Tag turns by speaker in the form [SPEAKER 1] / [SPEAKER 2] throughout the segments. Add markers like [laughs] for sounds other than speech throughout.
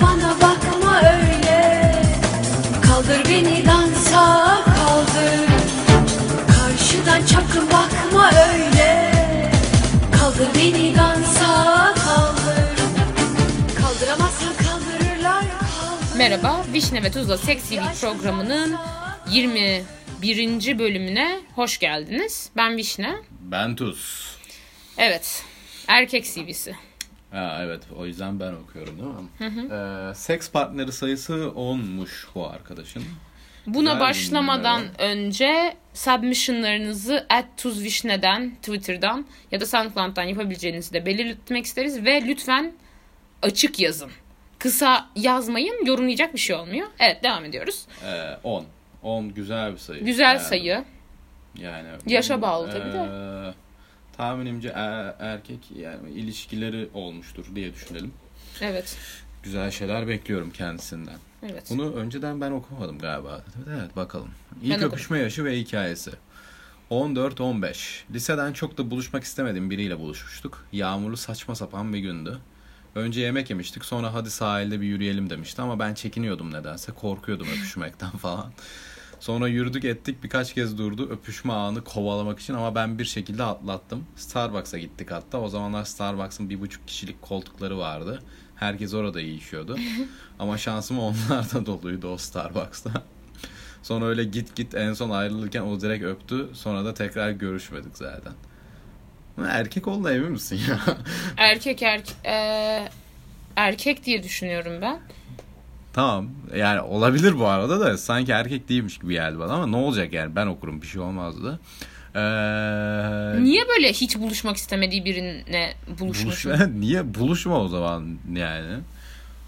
[SPEAKER 1] Bana bakma öyle Kaldır beni dansa kaldır Karşıdan çakın bakma öyle Kaldır beni dansa kaldır Kaldıramazsan kaldırırlar kaldır
[SPEAKER 2] Merhaba, Vişne ve Tuzla Seksi bir programının 21. bölümüne hoş geldiniz. Ben Vişne.
[SPEAKER 3] Ben Tuz.
[SPEAKER 2] Evet, erkek CV'si.
[SPEAKER 3] Ha, evet o yüzden ben okuyorum değil mi? Ee, seks partneri sayısı 10'muş bu arkadaşın.
[SPEAKER 2] Buna
[SPEAKER 3] Güzel
[SPEAKER 2] başlamadan
[SPEAKER 3] bilmiyorum.
[SPEAKER 2] önce submissionlarınızı @tuzvişne'den, Twitter'dan ya da SoundCloud'dan yapabileceğinizi de belirtmek isteriz ve lütfen açık yazın. Kısa yazmayın, yorumlayacak bir şey olmuyor. Evet, devam ediyoruz.
[SPEAKER 3] Ee, 10. 10 güzel bir sayı.
[SPEAKER 2] Güzel
[SPEAKER 3] Yani-
[SPEAKER 2] sayı.
[SPEAKER 3] Yani
[SPEAKER 2] Yaşa bağlı tabii de.
[SPEAKER 3] Ee, Tahminimce e- erkek yani ilişkileri olmuştur diye düşünelim.
[SPEAKER 2] Evet.
[SPEAKER 3] Güzel şeyler bekliyorum kendisinden.
[SPEAKER 2] Evet.
[SPEAKER 3] Bunu önceden ben okumadım galiba. Evet bakalım. İlk
[SPEAKER 2] Ben okudum.
[SPEAKER 3] öpüşme yaşı ve hikayesi. 14-15. Liseden çok da buluşmak istemedim biriyle buluşmuştuk. Yağmurlu saçma sapan bir gündü. Önce yemek yemiştik sonra hadi sahilde bir yürüyelim demişti ama ben çekiniyordum nedense. Korkuyordum öpüşmekten falan. Sonra yürüdük ettik birkaç kez durdu öpüşme anı kovalamak için ama ben bir şekilde atlattım. Starbucks'a gittik hatta o zamanlar Starbucks'ın bir buçuk kişilik koltukları vardı. Herkes orada yiyişiyordu. ama şansım onlar da doluydu o Starbucks'ta. Sonra öyle git git en son ayrılırken o direkt öptü. Sonra da tekrar görüşmedik zaten. Ama Erkek ol da emin misin ya? [laughs]
[SPEAKER 2] Erkek erkek erkek diye düşünüyorum ben.
[SPEAKER 3] tamam yani olabilir bu arada da sanki erkek değilmiş gibi geldi bana ama ne olacak yani ben okurum bir şey olmazdı. Ee, [laughs]
[SPEAKER 2] Niye böyle hiç buluşmak istemediği birine buluşmuş?
[SPEAKER 3] Buluşma, [laughs] niye buluşma o zaman yani?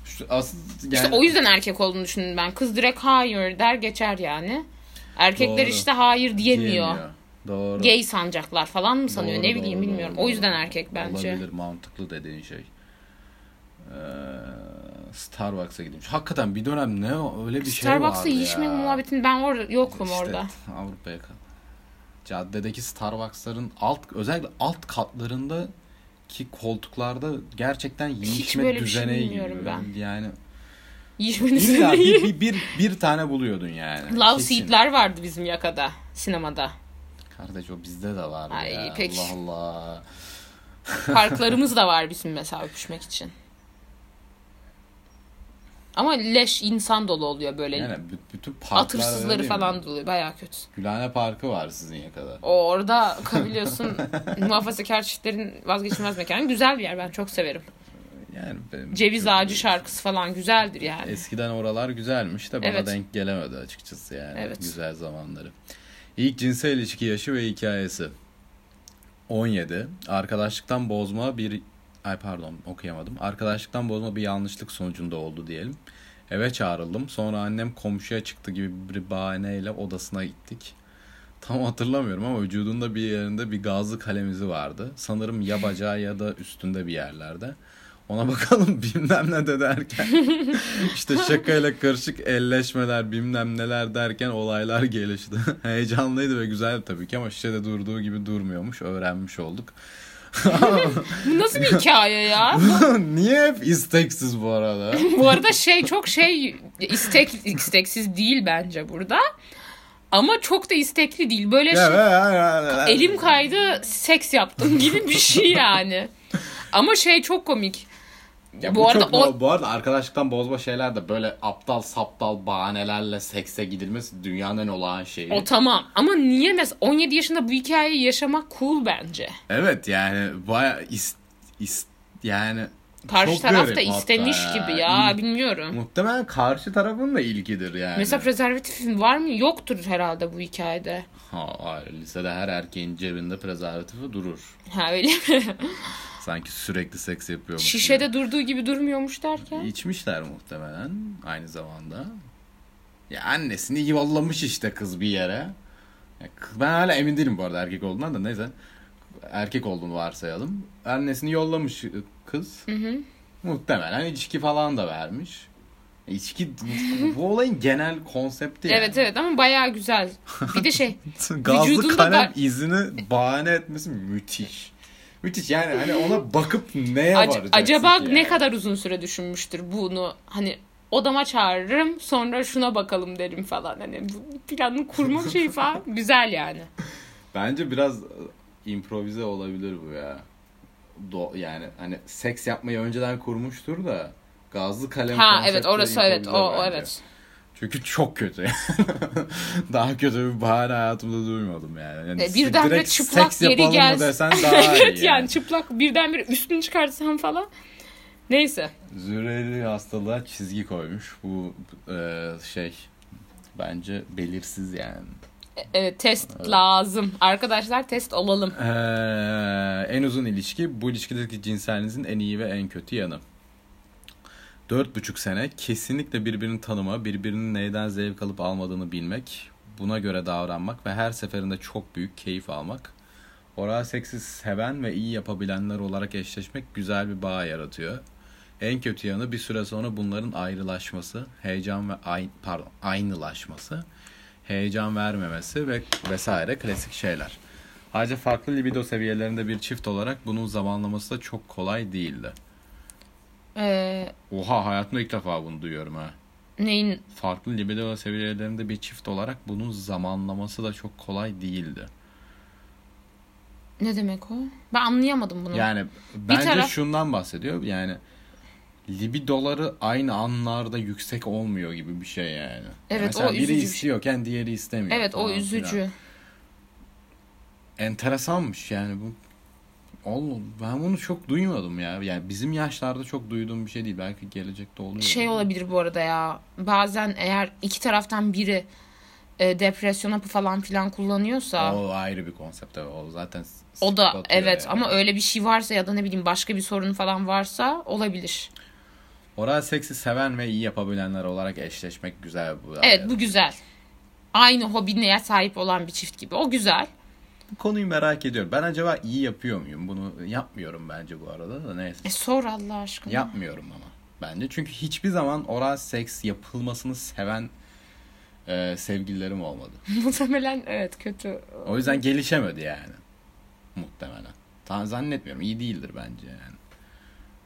[SPEAKER 3] Şu, asıl,
[SPEAKER 2] İşte
[SPEAKER 3] yani-
[SPEAKER 2] o yüzden erkek olduğunu düşündüm ben. Kız direkt hayır der geçer yani. Erkekler
[SPEAKER 3] Doğru.
[SPEAKER 2] işte hayır diyemiyor.
[SPEAKER 3] Diyemiyor. Doğru.
[SPEAKER 2] Gay sancaklar falan mı sanıyor
[SPEAKER 3] Doğru,
[SPEAKER 2] ne bileyim
[SPEAKER 3] doğru,
[SPEAKER 2] bilmiyorum.
[SPEAKER 3] doğru,
[SPEAKER 2] O yüzden
[SPEAKER 3] doğru.
[SPEAKER 2] erkek bence.
[SPEAKER 3] Olabilir mantıklı dediğin şey. Ee, Starbucks'a gidiyormuş. Hakikaten bir dönem ne o- öyle bir şey vardı
[SPEAKER 2] Starbucks'a yiyişme
[SPEAKER 3] ya.
[SPEAKER 2] muhabbetini ben orada yokum
[SPEAKER 3] İşte
[SPEAKER 2] orada.
[SPEAKER 3] Avrupa'ya kadar. Caddedeki Starbucks'ların alt özellikle alt katlarında ki koltuklarda gerçekten
[SPEAKER 2] böyle
[SPEAKER 3] yiyişme
[SPEAKER 2] bir şey
[SPEAKER 3] düzeneği
[SPEAKER 2] bilmiyorum
[SPEAKER 3] gibi.
[SPEAKER 2] ben. [laughs]
[SPEAKER 3] Yani
[SPEAKER 2] Yiyişmenin
[SPEAKER 3] illa
[SPEAKER 2] üstüne-
[SPEAKER 3] bir, [laughs] bir, bir, bir tane buluyordun yani.
[SPEAKER 2] Love
[SPEAKER 3] Kesin.
[SPEAKER 2] Seat'ler vardı bizim yakada
[SPEAKER 3] [laughs]
[SPEAKER 2] sinemada.
[SPEAKER 3] Kardeş o bizde de var
[SPEAKER 2] Ay,
[SPEAKER 3] ya.
[SPEAKER 2] peki.
[SPEAKER 3] Allah Allah.
[SPEAKER 2] Parklarımız da var bizim mesela öpüşmek için. Ama leş insan dolu oluyor böyle.
[SPEAKER 3] Yani bü- bütün parklar öyle
[SPEAKER 2] Atırsızları
[SPEAKER 3] değil mi?
[SPEAKER 2] falan doluyor. Bayağı kötü.
[SPEAKER 3] Gülhane Parkı var sizin yakada.
[SPEAKER 2] O orada
[SPEAKER 3] [laughs]
[SPEAKER 2] kabiliyorsun muhafazakar çiftlerin vazgeçilmez mekanı. Güzel bir yer ben çok severim.
[SPEAKER 3] Yani benim
[SPEAKER 2] Ceviz
[SPEAKER 3] çok-
[SPEAKER 2] ağacı şarkısı falan güzeldir yani.
[SPEAKER 3] Eskiden oralar güzelmiş de bana
[SPEAKER 2] Evet.
[SPEAKER 3] denk gelemedi açıkçası yani.
[SPEAKER 2] Evet.
[SPEAKER 3] Güzel zamanları. İlk cinsel ilişki yaşı ve hikayesi. 17. Arkadaşlıktan bozma bir... Ay pardon okuyamadım. Arkadaşlıktan bozma bir yanlışlık sonucunda oldu diyelim. Eve çağrıldım. Sonra annem komşuya çıktı gibi bir bahaneyle odasına gittik. Tam hatırlamıyorum ama vücudunda bir yerinde bir gazlı kalem izi vardı. Sanırım ya bacağı ya da üstünde bir yerlerde. Ona [laughs] bakalım bilmem ne de derken işte şakayla karışık elleşmeler bilmem neler derken olaylar gelişti. [laughs] Heyecanlıydı ve güzeldi tabii ki ama şişede durduğu gibi durmuyormuş öğrenmiş olduk. [laughs]
[SPEAKER 2] Bu nasıl bir hikaye ya?
[SPEAKER 3] Niye hep isteksiz
[SPEAKER 2] [laughs]
[SPEAKER 3] bu arada?
[SPEAKER 2] Bu arada şey çok şey istek isteksiz değil bence burada. Ama çok da istekli değil. Böyle
[SPEAKER 3] Ya,
[SPEAKER 2] şey,
[SPEAKER 3] ya, ya, ya.
[SPEAKER 2] elim kaydı seks yaptım gibi bir şey yani. Ama şey çok komik.
[SPEAKER 3] Ya
[SPEAKER 2] bu, arada
[SPEAKER 3] çok-
[SPEAKER 2] o
[SPEAKER 3] bu arada arkadaşlıktan bozma şeyler de böyle aptal saptal bahanelerle sekse gidilmesi dünyanın en olağan şeyi.
[SPEAKER 2] o tamam. Ama niye mesela 17 yaşında bu hikayeyi yaşamak cool bence.
[SPEAKER 3] Evet yani baya is, is- yani
[SPEAKER 2] Karşı
[SPEAKER 3] Çok
[SPEAKER 2] taraf
[SPEAKER 3] garip
[SPEAKER 2] da
[SPEAKER 3] hatta
[SPEAKER 2] istemiş
[SPEAKER 3] ya.
[SPEAKER 2] gibi ya
[SPEAKER 3] İyi.
[SPEAKER 2] bilmiyorum.
[SPEAKER 3] muhtemelen karşı tarafın da ilgidir yani.
[SPEAKER 2] Mesela prezervatifin var mı? Yoktur herhalde bu hikayede.
[SPEAKER 3] ha, hayır, lisede her erkeğin cebinde prezervatifi durur.
[SPEAKER 2] Ha öyle
[SPEAKER 3] [laughs]
[SPEAKER 2] mi?
[SPEAKER 3] Sanki sürekli seks yapıyormuş. gibi.
[SPEAKER 2] Şişede durduğu gibi durmuyormuş derken.
[SPEAKER 3] İçmişler muhtemelen aynı zamanda. Ya annesini yollamış işte kız bir yere. Ya kız- Ben hala emin değilim bu arada erkek olduğundan da neyse. Erkek olduğunu varsayalım. Annesini yollamış kız. Muhtemelen içki falan da vermiş. İçki bu olayın genel konsepti yani.
[SPEAKER 2] Evet evet ama bayağı güzel. Bir de şey
[SPEAKER 3] [laughs] Gazlı
[SPEAKER 2] Vücudunda
[SPEAKER 3] kalem
[SPEAKER 2] da-
[SPEAKER 3] izini bahane etmesi müthiş. Müthiş yani hani ona bakıp neye
[SPEAKER 2] Ac-
[SPEAKER 3] varacaksın
[SPEAKER 2] acaba
[SPEAKER 3] ki yani?
[SPEAKER 2] ne kadar uzun süre düşünmüştür bunu hani odama çağırırım sonra şuna bakalım derim falan hani bu planını
[SPEAKER 3] [laughs]
[SPEAKER 2] kurma şeyi falan güzel yani.
[SPEAKER 3] Bence biraz e, improvize olabilir bu ya. Do yani hani seks yapmayı önceden kurmuştur da gazlı kalem
[SPEAKER 2] Ha
[SPEAKER 3] konsepti
[SPEAKER 2] evet orası evet o,
[SPEAKER 3] improvize
[SPEAKER 2] o
[SPEAKER 3] bence.
[SPEAKER 2] evet.
[SPEAKER 3] Çünkü çok kötü. [laughs] daha kötü bir bahane hayatımda duymadım yani. yani
[SPEAKER 2] E, birdenbire
[SPEAKER 3] direkt
[SPEAKER 2] çıplak
[SPEAKER 3] seks
[SPEAKER 2] yeri
[SPEAKER 3] yapalım mı
[SPEAKER 2] gel. [laughs]
[SPEAKER 3] desen daha iyi.
[SPEAKER 2] evet yani çıplak birdenbire üstünü çıkartsam falan. Neyse.
[SPEAKER 3] Züreli hastalığa çizgi koymuş. Bu e, şey bence belirsiz yani.
[SPEAKER 2] Evet Ee, test lazım. Arkadaşlar test olalım.
[SPEAKER 3] Ee, en uzun ilişki bu ilişkideki cinselinizin en iyi ve en kötü yanı. Dört buçuk sene kesinlikle birbirini tanıma, birbirinin neyden zevk alıp almadığını bilmek, buna göre davranmak ve her seferinde çok büyük keyif almak. Oral seksi seven ve iyi yapabilenler olarak eşleşmek güzel bir bağ yaratıyor. En kötü yanı bir süre sonra bunların ayrılaşması, heyecan ve ay- pardon, aynılaşması, heyecan vermemesi ve vesaire klasik şeyler. Ayrıca farklı libido seviyelerinde bir çift olarak bunun zamanlaması da çok kolay değildi.
[SPEAKER 2] Ee,
[SPEAKER 3] Oha hayatımda ilk defa bunu duyuyorum ha.
[SPEAKER 2] neyin
[SPEAKER 3] Farklı libido seviyelerinde bir çift olarak bunun zamanlaması da çok kolay değildi.
[SPEAKER 2] ne demek o? Ben anlayamadım bunu.
[SPEAKER 3] Yani bence
[SPEAKER 2] taraf-
[SPEAKER 3] şundan bahsediyor. Yani libidoları aynı anlarda yüksek olmuyor gibi bir şey yani.
[SPEAKER 2] Evet,
[SPEAKER 3] Mesela
[SPEAKER 2] o
[SPEAKER 3] biri
[SPEAKER 2] üzücü bir şey.
[SPEAKER 3] istiyorken diğeri istemiyor.
[SPEAKER 2] evet o
[SPEAKER 3] falan filan.
[SPEAKER 2] üzücü.
[SPEAKER 3] Enteresanmış yani bu. Oğlum ben bunu çok duymadım ya. Yani bizim yaşlarda çok duyduğum bir şey değil. Belki gelecekte oluyor.
[SPEAKER 2] Şey olabilir bu arada ya. Bazen eğer iki taraftan biri e, depresyon hapı falan filan kullanıyorsa
[SPEAKER 3] O ayrı bir konsept tabii. O zaten s-
[SPEAKER 2] o da
[SPEAKER 3] sıkıntı
[SPEAKER 2] evet
[SPEAKER 3] yani.
[SPEAKER 2] ama öyle bir şey varsa ya da ne bileyim başka bir sorun falan varsa olabilir.
[SPEAKER 3] Oral seksi seven ve iyi yapabilenler olarak eşleşmek güzel bu.
[SPEAKER 2] Evet bu güzel. Aynı hobineye sahip olan bir çift gibi. O güzel.
[SPEAKER 3] Bu konuyu merak ediyorum. Ben acaba iyi yapıyor muyum? Bunu yapmıyorum bence bu arada da neyse.
[SPEAKER 2] E sor Allah aşkına.
[SPEAKER 3] Yapmıyorum ama bence. Çünkü hiçbir zaman oral seks yapılmasını seven e, sevgililerim olmadı.
[SPEAKER 2] [laughs] Muhtemelen evet kötü.
[SPEAKER 3] O yüzden gelişemedi yani. Muhtemelen. Tan zannetmiyorum. İyi değildir bence yani.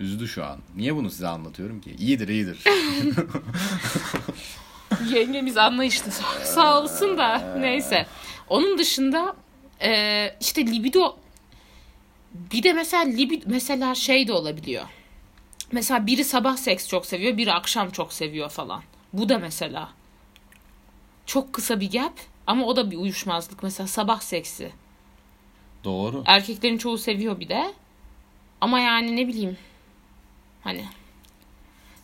[SPEAKER 3] Üzdü şu an. Niye bunu size anlatıyorum ki?
[SPEAKER 2] [laughs]
[SPEAKER 3] İyidir iyidir.
[SPEAKER 2] Yengemiz anlayışlı [laughs] sağ, sağ olsun da neyse. Onun dışında e, işte libido bir de mesela libido mesela şey de olabiliyor. Mesela biri sabah seks çok seviyor, biri akşam çok seviyor falan. Bu da mesela çok kısa bir gap ama o da bir uyuşmazlık. Mesela sabah seksi.
[SPEAKER 3] Doğru.
[SPEAKER 2] Erkeklerin çoğu seviyor bir de. Ama yani ne bileyim. Hani.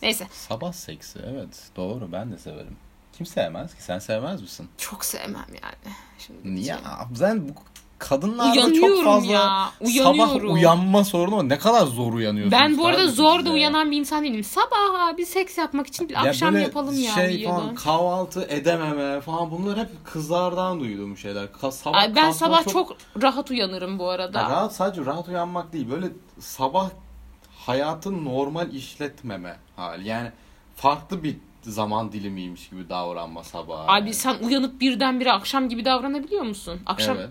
[SPEAKER 2] Neyse.
[SPEAKER 3] Sabah seksi evet. Doğru ben de severim. Kim sevmez ki? Sen sevmez misin?
[SPEAKER 2] Çok sevmem yani. Şimdi
[SPEAKER 3] Niye? Sen bu kadınlarda çok
[SPEAKER 2] Uyanıyorum
[SPEAKER 3] fazla
[SPEAKER 2] ya,
[SPEAKER 3] sabah
[SPEAKER 2] uyanıyorum.
[SPEAKER 3] uyanma sorunu var. Ne kadar zor uyanıyorsun.
[SPEAKER 2] Ben bu arada zor da uyanan bir insan değilim. Sabah abi seks yapmak için bir akşam yapalım ya.
[SPEAKER 3] Şey
[SPEAKER 2] uyuyalım.
[SPEAKER 3] falan kahvaltı edememe falan bunlar hep kızlardan duyduğum şeyler. Ka- sabah
[SPEAKER 2] Ay, ben
[SPEAKER 3] kalkma
[SPEAKER 2] sabah çok... rahat uyanırım bu arada.
[SPEAKER 3] Ya rahat sadece rahat uyanmak değil böyle sabah hayatın normal işletmeme hali. Yani farklı bir zaman dilimiymiş gibi davranma sabah.
[SPEAKER 2] Abi sen uyanıp birdenbire akşam gibi davranabiliyor musun? Akşam
[SPEAKER 3] Evet.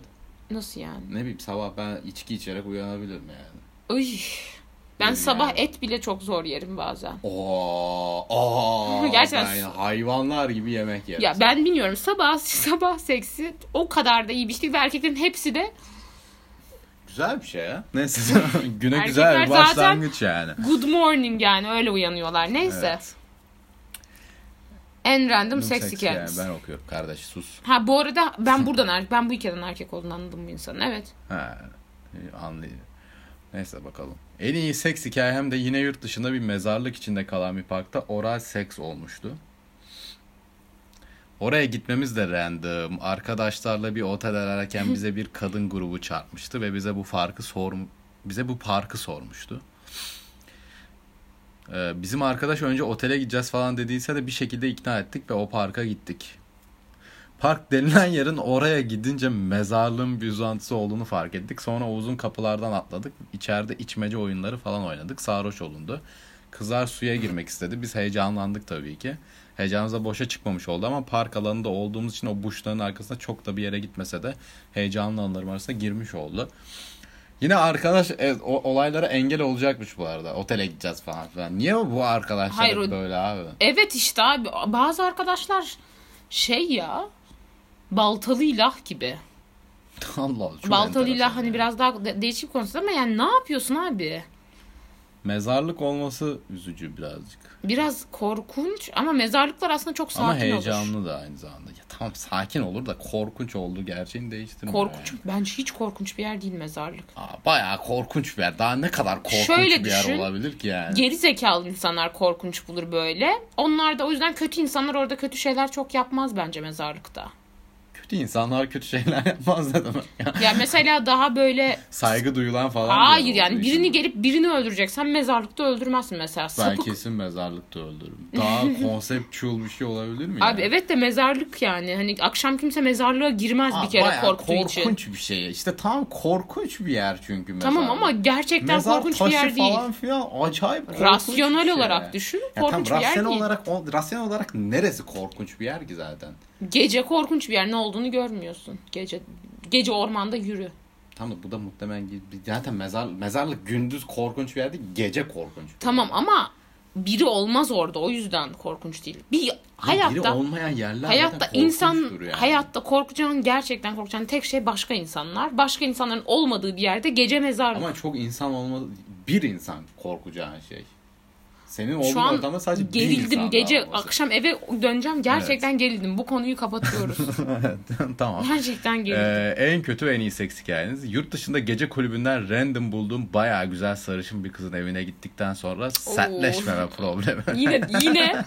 [SPEAKER 2] nasıl yani?
[SPEAKER 3] Ne bileyim sabah ben içki içerek uyanabilirim yani.
[SPEAKER 2] Oy. Ben
[SPEAKER 3] Yani.
[SPEAKER 2] sabah et bile çok zor yerim bazen.
[SPEAKER 3] Oo,
[SPEAKER 2] [laughs]
[SPEAKER 3] aa,
[SPEAKER 2] Gerçekten
[SPEAKER 3] ben
[SPEAKER 2] su-
[SPEAKER 3] hayvanlar gibi yemek yerim.
[SPEAKER 2] Ya ben bilmiyorum sabah [laughs] sabah seksi o kadar da iyi bir şey değil ve erkeklerin hepsi de
[SPEAKER 3] Güzel bir şey ya. Neyse [laughs] güne
[SPEAKER 2] Erkekler
[SPEAKER 3] güzel bir
[SPEAKER 2] zaten-
[SPEAKER 3] başlangıç yani.
[SPEAKER 2] good morning yani öyle uyanıyorlar. Neyse.
[SPEAKER 3] Evet.
[SPEAKER 2] En random
[SPEAKER 3] Bunun
[SPEAKER 2] [laughs] seksi
[SPEAKER 3] seksi yani.
[SPEAKER 2] kelimesi.
[SPEAKER 3] Ben okuyorum kardeş sus.
[SPEAKER 2] Ha bu arada ben buradan erkek, ben bu ülkeden erkek olduğunu anladım bu insanın. Evet.
[SPEAKER 3] Ha, anlayın. Neyse bakalım. En iyi seks hikayem de yine yurt dışında bir mezarlık içinde kalan bir parkta oral seks olmuştu. Oraya gitmemiz de random. Arkadaşlarla bir otel ararken bize bir kadın grubu çarpmıştı ve bize bu farkı sor bize bu parkı sormuştu. Ee, bizim arkadaş önce otele gideceğiz falan dediyse de bir şekilde ikna ettik ve o parka gittik. Park denilen yerin oraya gidince mezarlığın bir uzantısı olduğunu fark ettik. Sonra o uzun kapılardan atladık. İçeride içmece oyunları falan oynadık. Sarhoş olundu. Kızlar suya girmek istedi. Biz heyecanlandık tabii ki. Heyecanımıza boşa çıkmamış oldu ama park alanında olduğumuz için o buşların arkasında çok da bir yere gitmese de heyecanlı anılarım arasında girmiş oldu. Yine arkadaş evet, o, olaylara engel olacakmış bu arada. Otele gideceğiz falan filan. Niye bu arkadaşlar
[SPEAKER 2] Hayır,
[SPEAKER 3] hep
[SPEAKER 2] o-
[SPEAKER 3] böyle abi? [laughs]
[SPEAKER 2] Evet işte abi bazı arkadaşlar şey ya baltalı ilah gibi.
[SPEAKER 3] Allah Allah. çok
[SPEAKER 2] baltalı
[SPEAKER 3] enteresan
[SPEAKER 2] ilah hani
[SPEAKER 3] ya.
[SPEAKER 2] biraz daha de- değişik bir konsept ama yani ne yapıyorsun abi?
[SPEAKER 3] Mezarlık olması üzücü birazcık.
[SPEAKER 2] Biraz korkunç ama mezarlıklar aslında çok sakin
[SPEAKER 3] Ama
[SPEAKER 2] olur.
[SPEAKER 3] heyecanlı da aynı zamanda. Ya tamam sakin olur da korkunç olduğu gerçeğini değiştirmiyor.
[SPEAKER 2] Korkunç.
[SPEAKER 3] yani.
[SPEAKER 2] Bence hiç korkunç bir yer değil mezarlık.
[SPEAKER 3] Aa, bayağı korkunç bir yer. Daha ne kadar korkunç
[SPEAKER 2] Şöyle
[SPEAKER 3] bir yer
[SPEAKER 2] düşün.
[SPEAKER 3] olabilir ki yani.
[SPEAKER 2] Geri zekalı insanlar korkunç bulur böyle. Onlar da o yüzden kötü insanlar orada kötü şeyler çok yapmaz bence mezarlıkta.
[SPEAKER 3] Kötü insanlar kötü şeyler [laughs] yapmaz dedim. Ya,
[SPEAKER 2] Ya mesela daha böyle
[SPEAKER 3] saygı duyulan falan. bir yer
[SPEAKER 2] hayır yani
[SPEAKER 3] olduğu
[SPEAKER 2] birini
[SPEAKER 3] için.
[SPEAKER 2] gelip birini öldüreceksen mezarlıkta öldürmezsin mesela.
[SPEAKER 3] Ben
[SPEAKER 2] Sapık.
[SPEAKER 3] kesin
[SPEAKER 2] [laughs]
[SPEAKER 3] mezarlıkta öldürürüm. Daha konseptçül bir şey olabilir mi
[SPEAKER 2] Abi
[SPEAKER 3] yani?
[SPEAKER 2] evet de mezarlık yani. Hani akşam kimse mezarlığa girmez
[SPEAKER 3] Aa,
[SPEAKER 2] bir kere
[SPEAKER 3] bayağı
[SPEAKER 2] korktuğu için.
[SPEAKER 3] korkunç bir şey. İşte tam korkunç bir yer çünkü mezarlık.
[SPEAKER 2] Tamam ama gerçekten
[SPEAKER 3] Mezar
[SPEAKER 2] korkunç
[SPEAKER 3] taşı
[SPEAKER 2] bir yer değil.
[SPEAKER 3] falan filan acayip korkunç
[SPEAKER 2] Rasyonel
[SPEAKER 3] bir şey.
[SPEAKER 2] olarak düşün.
[SPEAKER 3] Ya tam
[SPEAKER 2] Korkunç bir yer
[SPEAKER 3] rasyonel
[SPEAKER 2] değil.
[SPEAKER 3] olarak o- rasyonel olarak neresi korkunç bir yer ki zaten?
[SPEAKER 2] Gece korkunç bir yer. Ne olduğunu görmüyorsun. Gece gece ormanda yürü.
[SPEAKER 3] Tam da bu da muhtemelen zaten mezar mezarlık gündüz korkunç bir yer değil, gece korkunç. bir
[SPEAKER 2] Tamam ama biri olmaz orada. O yüzden korkunç değil. Bir
[SPEAKER 3] yer. Ya biri
[SPEAKER 2] hayatta
[SPEAKER 3] olmayan yerler
[SPEAKER 2] hayatta
[SPEAKER 3] zaten
[SPEAKER 2] insan
[SPEAKER 3] korkunçtur yani.
[SPEAKER 2] hayatta korkacağın gerçekten korkacağın tek şey başka insanlar. Başka insanların olmadığı bir yerde gece mezarlık.
[SPEAKER 3] Ama çok insan olmadı. Bir insan korkacağın şey. Senin olduğun
[SPEAKER 2] Şu an
[SPEAKER 3] ortamda sadece bir insan
[SPEAKER 2] gerildim
[SPEAKER 3] daha
[SPEAKER 2] gece
[SPEAKER 3] olması.
[SPEAKER 2] akşam eve döneceğim gerçekten gerildim. Bu konuyu
[SPEAKER 3] [laughs]
[SPEAKER 2] kapatıyoruz.
[SPEAKER 3] tamam.
[SPEAKER 2] gerçekten gerildim.
[SPEAKER 3] Ee, en kötü ve en iyi seks hikayeniz. Yurt dışında gece kulübünden random bulduğum bayağı güzel sarışın bir kızın evine gittikten sonra sertleşmeme problemi. [laughs]
[SPEAKER 2] Yine yine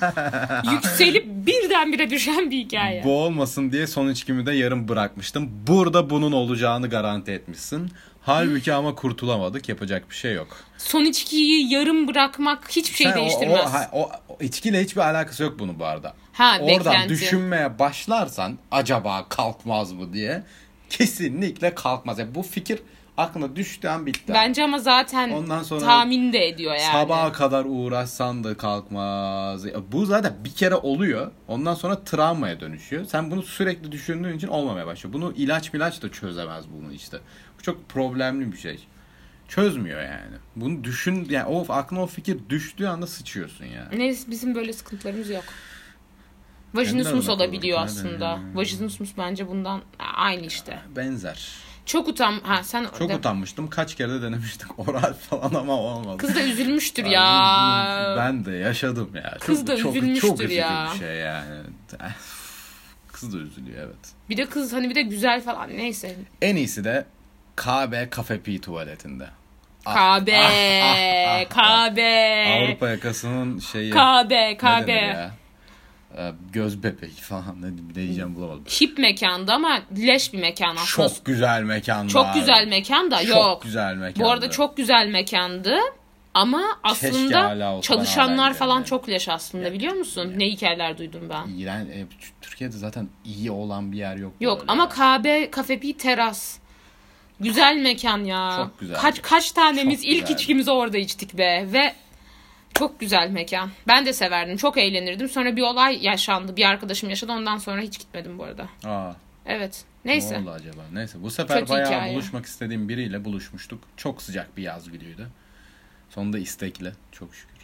[SPEAKER 2] yükselip birdenbire düşen bir hikaye.
[SPEAKER 3] Bu olmasın diye son içkimi de yarım bırakmıştım. Burada bunun olacağını garanti etmişsin. Halbuki ama kurtulamadık. Yapacak bir şey yok.
[SPEAKER 2] Son içkiyi yarım bırakmak hiçbir şey
[SPEAKER 3] Sen o-
[SPEAKER 2] değiştirmez.
[SPEAKER 3] O, ha- o- o içkiyle hiçbir alakası yok bunun bu arada.
[SPEAKER 2] Ha,
[SPEAKER 3] Oradan
[SPEAKER 2] beklenti.
[SPEAKER 3] düşünmeye başlarsan acaba kalkmaz mı diye kesinlikle kalkmaz. Yani bu fikir aklına düştüğü an bitti.
[SPEAKER 2] Bence ama zaten
[SPEAKER 3] Ondan sonra
[SPEAKER 2] tahmin de ediyor yani.
[SPEAKER 3] Sabaha kadar uğraşsan da kalkmaz. Ya Bu zaten bir kere oluyor. Ondan sonra travmaya dönüşüyor. Sen bunu sürekli düşündüğün için olmamaya başlıyor. Bunu ilaç milaç da çözemez bunu işte. Bu çok problemli bir şey. Çözmüyor yani. Bunu düşün yani o aklına o fikir düştüğü anda sıçıyorsun yani.
[SPEAKER 2] Neyse bizim böyle sıkıntılarımız yok.
[SPEAKER 3] Kendilerine
[SPEAKER 2] Vajinismus
[SPEAKER 3] bakıyorlar.
[SPEAKER 2] olabiliyor
[SPEAKER 3] Aynen.
[SPEAKER 2] aslında. Vajinismus bence bundan aynı işte.
[SPEAKER 3] Benzer.
[SPEAKER 2] Çok utan ha sen
[SPEAKER 3] Çok
[SPEAKER 2] de-
[SPEAKER 3] utanmıştım. Kaç kere de denemiştik [laughs] oral falan ama olmadı.
[SPEAKER 2] Kız da üzülmüştür
[SPEAKER 3] Ay,
[SPEAKER 2] ya.
[SPEAKER 3] Ben de yaşadım ya.
[SPEAKER 2] Kız
[SPEAKER 3] çok,
[SPEAKER 2] da
[SPEAKER 3] çok,
[SPEAKER 2] üzülmüştür
[SPEAKER 3] çok üzücü
[SPEAKER 2] ya.
[SPEAKER 3] bir şey yani. [laughs] Kız da üzülüyor evet.
[SPEAKER 2] Bir de kız hani bir de güzel falan neyse.
[SPEAKER 3] En iyisi de KB Cafe P tuvaletinde.
[SPEAKER 2] KB,
[SPEAKER 3] ah, ah,
[SPEAKER 2] KB, Ee,
[SPEAKER 3] Avrupa yakasının şeyi.
[SPEAKER 2] KB,
[SPEAKER 3] ne denir
[SPEAKER 2] KB.
[SPEAKER 3] ya? Ee, Göz bebeği falan ne, ne diyeceğim bulamadım.
[SPEAKER 2] Hip mekanda ama leş bir mekan aslında.
[SPEAKER 3] Çok güzel mekan
[SPEAKER 2] Çok
[SPEAKER 3] var.
[SPEAKER 2] güzel mekan da
[SPEAKER 3] Çok
[SPEAKER 2] yok.
[SPEAKER 3] güzel mekan.
[SPEAKER 2] Bu arada çok güzel mekandı. Ama
[SPEAKER 3] hala
[SPEAKER 2] aslında
[SPEAKER 3] olsa ben hala
[SPEAKER 2] çalışanlar
[SPEAKER 3] giderim
[SPEAKER 2] falan
[SPEAKER 3] yani.
[SPEAKER 2] çok leş aslında biliyor musun? Ne hikayeler duydum ben.
[SPEAKER 3] İğren, e, Türkiye'de zaten iyi olan bir yer yok.
[SPEAKER 2] Yok
[SPEAKER 3] böyle.
[SPEAKER 2] ama KB Cafe Pi teras. Güzel mekan ya.
[SPEAKER 3] Çok güzel.
[SPEAKER 2] Kaç kaç tanemiz
[SPEAKER 3] Çok
[SPEAKER 2] ilk
[SPEAKER 3] güzel.
[SPEAKER 2] içkimizi orada içtik be ve çok güzel mekan. Ben de severdim. Çok eğlenirdim. Sonra bir olay yaşandı. Bir arkadaşım yaşadı. Ondan sonra hiç gitmedim bu arada.
[SPEAKER 3] Aa,
[SPEAKER 2] Evet. Neyse.
[SPEAKER 3] Ne oldu acaba? Neyse bu sefer
[SPEAKER 2] Kötü
[SPEAKER 3] bayağı
[SPEAKER 2] hikaye.
[SPEAKER 3] buluşmak istediğim biriyle buluşmuştuk. Çok sıcak bir yaz günüydü. Sonunda istekle çok
[SPEAKER 2] [laughs]
[SPEAKER 3] şükür.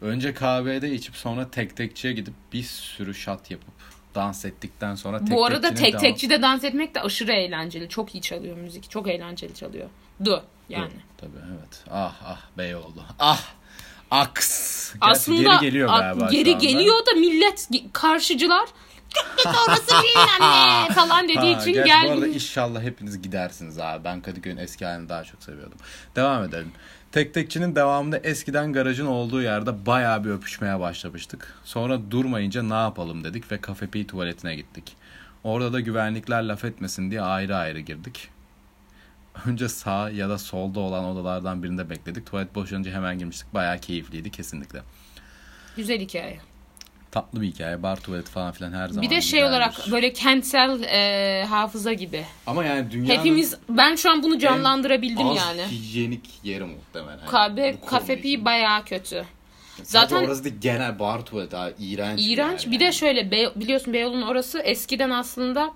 [SPEAKER 3] Önce kahvede içip sonra tek tekçiye gidip bir sürü şat yapıp dans ettikten sonra tek
[SPEAKER 2] bu arada
[SPEAKER 3] tekçinin
[SPEAKER 2] tek
[SPEAKER 3] devam-
[SPEAKER 2] tekçi de dans etmek de aşırı eğlenceli. Çok iyi çalıyor müzik. Çok eğlenceli çalıyor. Du yani.
[SPEAKER 3] Tabii evet. Ah ah Beyoğlu. Ah aks. Gerçi
[SPEAKER 2] Aslında
[SPEAKER 3] geri geliyor
[SPEAKER 2] a-
[SPEAKER 3] galiba. şu
[SPEAKER 2] geri
[SPEAKER 3] anda.
[SPEAKER 2] geliyor da millet ge- karşıcılar "Çok kötü orası bilmem ne"
[SPEAKER 3] [laughs]
[SPEAKER 2] falan
[SPEAKER 3] Ha,
[SPEAKER 2] dediği için
[SPEAKER 3] gerçi Bu arada
[SPEAKER 2] geldi.
[SPEAKER 3] inşallah hepiniz gidersiniz abi. Ben Kadıköy'ün eski halini daha çok seviyordum. Devam edelim. Tek tekçinin devamında eskiden garajın olduğu yerde bayağı bir öpüşmeye başlamıştık. Sonra durmayınca ne yapalım dedik ve kafe pi tuvaletine gittik. Orada da güvenlikler laf etmesin diye ayrı ayrı girdik. Önce sağ ya da solda olan odalardan birinde bekledik. Tuvalet boşalınca hemen girmiştik. Bayağı keyifliydi kesinlikle.
[SPEAKER 2] Güzel hikaye.
[SPEAKER 3] Tatlı bir hikaye. Bar tuvaleti falan filan her zaman
[SPEAKER 2] Bir de şey
[SPEAKER 3] güzeldir.
[SPEAKER 2] olarak böyle kentsel e, hafıza gibi.
[SPEAKER 3] Ama yani dünyanın...
[SPEAKER 2] Hepimiz ben şu an bunu canlandırabildim
[SPEAKER 3] Az
[SPEAKER 2] yani.
[SPEAKER 3] hijyenik yeri muhtemelen. Hani
[SPEAKER 2] Kahve
[SPEAKER 3] Bu konu
[SPEAKER 2] kafe
[SPEAKER 3] için.
[SPEAKER 2] pi bayağı kötü.
[SPEAKER 3] Sadece
[SPEAKER 2] zaten-
[SPEAKER 3] orası da genel bar tuvalet daha iğrenç. bir
[SPEAKER 2] İğrenç.
[SPEAKER 3] yer
[SPEAKER 2] Bir de
[SPEAKER 3] yani.
[SPEAKER 2] şöyle Bey- biliyorsun Beyoğlu'nun orası eskiden aslında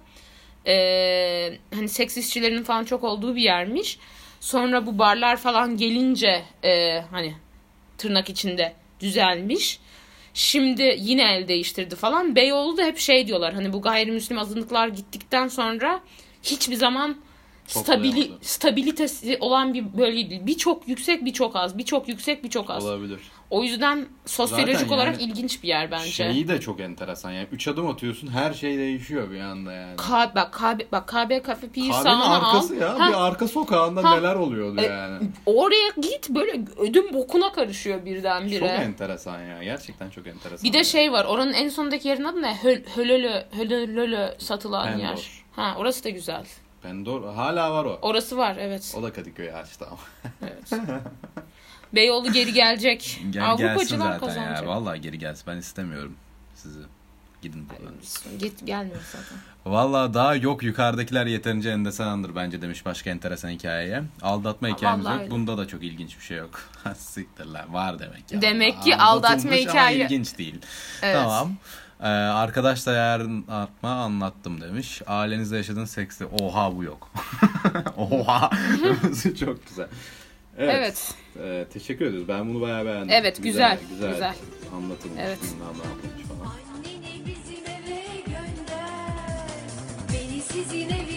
[SPEAKER 2] e, hani seks işçilerinin falan çok olduğu bir yermiş. Sonra bu barlar falan gelince e, hani tırnak içinde düzelmiş. Şimdi yine el değiştirdi falan. Beyoğlu da hep şey diyorlar hani bu gayrimüslim azınlıklar gittikten sonra hiçbili zaman stabili,
[SPEAKER 3] Toplayamadı.
[SPEAKER 2] stabilitesi olan bir bölge değil. Birçok yüksek birçok az. Birçok yüksek birçok az.
[SPEAKER 3] Olabilir.
[SPEAKER 2] O yüzden sosyolojik
[SPEAKER 3] Zaten
[SPEAKER 2] olarak
[SPEAKER 3] yani
[SPEAKER 2] ilginç bir yer bence.
[SPEAKER 3] Şeyi de çok enteresan yani. Üç adım atıyorsun her şey değişiyor bir anda yani.
[SPEAKER 2] K- bak KB bak KB Cafe Pi'yi
[SPEAKER 3] Kahvenin
[SPEAKER 2] sağına
[SPEAKER 3] arkası
[SPEAKER 2] al.
[SPEAKER 3] ya.
[SPEAKER 2] Ha,
[SPEAKER 3] Bir arka sokağında
[SPEAKER 2] Ha. E,
[SPEAKER 3] neler oluyordu yani.
[SPEAKER 2] Oraya git böyle ödüm bokuna karışıyor
[SPEAKER 3] Çok
[SPEAKER 2] birdenbire.
[SPEAKER 3] enteresan ya. Gerçekten çok enteresan.
[SPEAKER 2] Bir de
[SPEAKER 3] ya.
[SPEAKER 2] şey var oranın en sondaki yerin adı ne? Höl, hölölö, hölölölö satılan
[SPEAKER 3] Pendor.
[SPEAKER 2] yer. Ha orası da güzel.
[SPEAKER 3] Pendor hala var o.
[SPEAKER 2] Orası var evet.
[SPEAKER 3] O da Kadıköy açtı ama.
[SPEAKER 2] evet. Beyoğlu geri gelecek.
[SPEAKER 3] Gel, gelsin
[SPEAKER 2] Avrupacılar
[SPEAKER 3] zaten
[SPEAKER 2] kazanacak.
[SPEAKER 3] ya. Vallahi geri gelsin. Ben istemiyorum sizi. Gidin buradan.
[SPEAKER 2] Git gelmiyor zaten.
[SPEAKER 3] Vallahi daha yok yukarıdakiler yeterince enteresandır bence demiş başka enteresan hikayeye. Aldatma
[SPEAKER 2] Ha,
[SPEAKER 3] hikayemiz
[SPEAKER 2] vallahi
[SPEAKER 3] yok.
[SPEAKER 2] öyle.
[SPEAKER 3] Bunda da çok ilginç bir şey yok. [laughs] Ha, Siktir lan var demek ya.
[SPEAKER 2] Demek ki
[SPEAKER 3] Aldatılmış
[SPEAKER 2] aldatma
[SPEAKER 3] ama
[SPEAKER 2] hikaye-
[SPEAKER 3] ilginç değil.
[SPEAKER 2] Evet.
[SPEAKER 3] Tamam. Ee, arkadaş da yarın atma anlattım demiş. Ailenizde yaşadığın seksi. Oha bu yok. [laughs] Oha. [laughs] çok güzel. Evet.
[SPEAKER 2] Evet.
[SPEAKER 3] Ee, teşekkür ediyoruz. Ben bunu bayağı beğendim.
[SPEAKER 2] Evet, güzel, güzel.
[SPEAKER 3] Anlatılmış.
[SPEAKER 2] Evet.
[SPEAKER 3] bilmem ne yapılmış falan.
[SPEAKER 1] Anneni bizim eve gönder Beni sizin evinize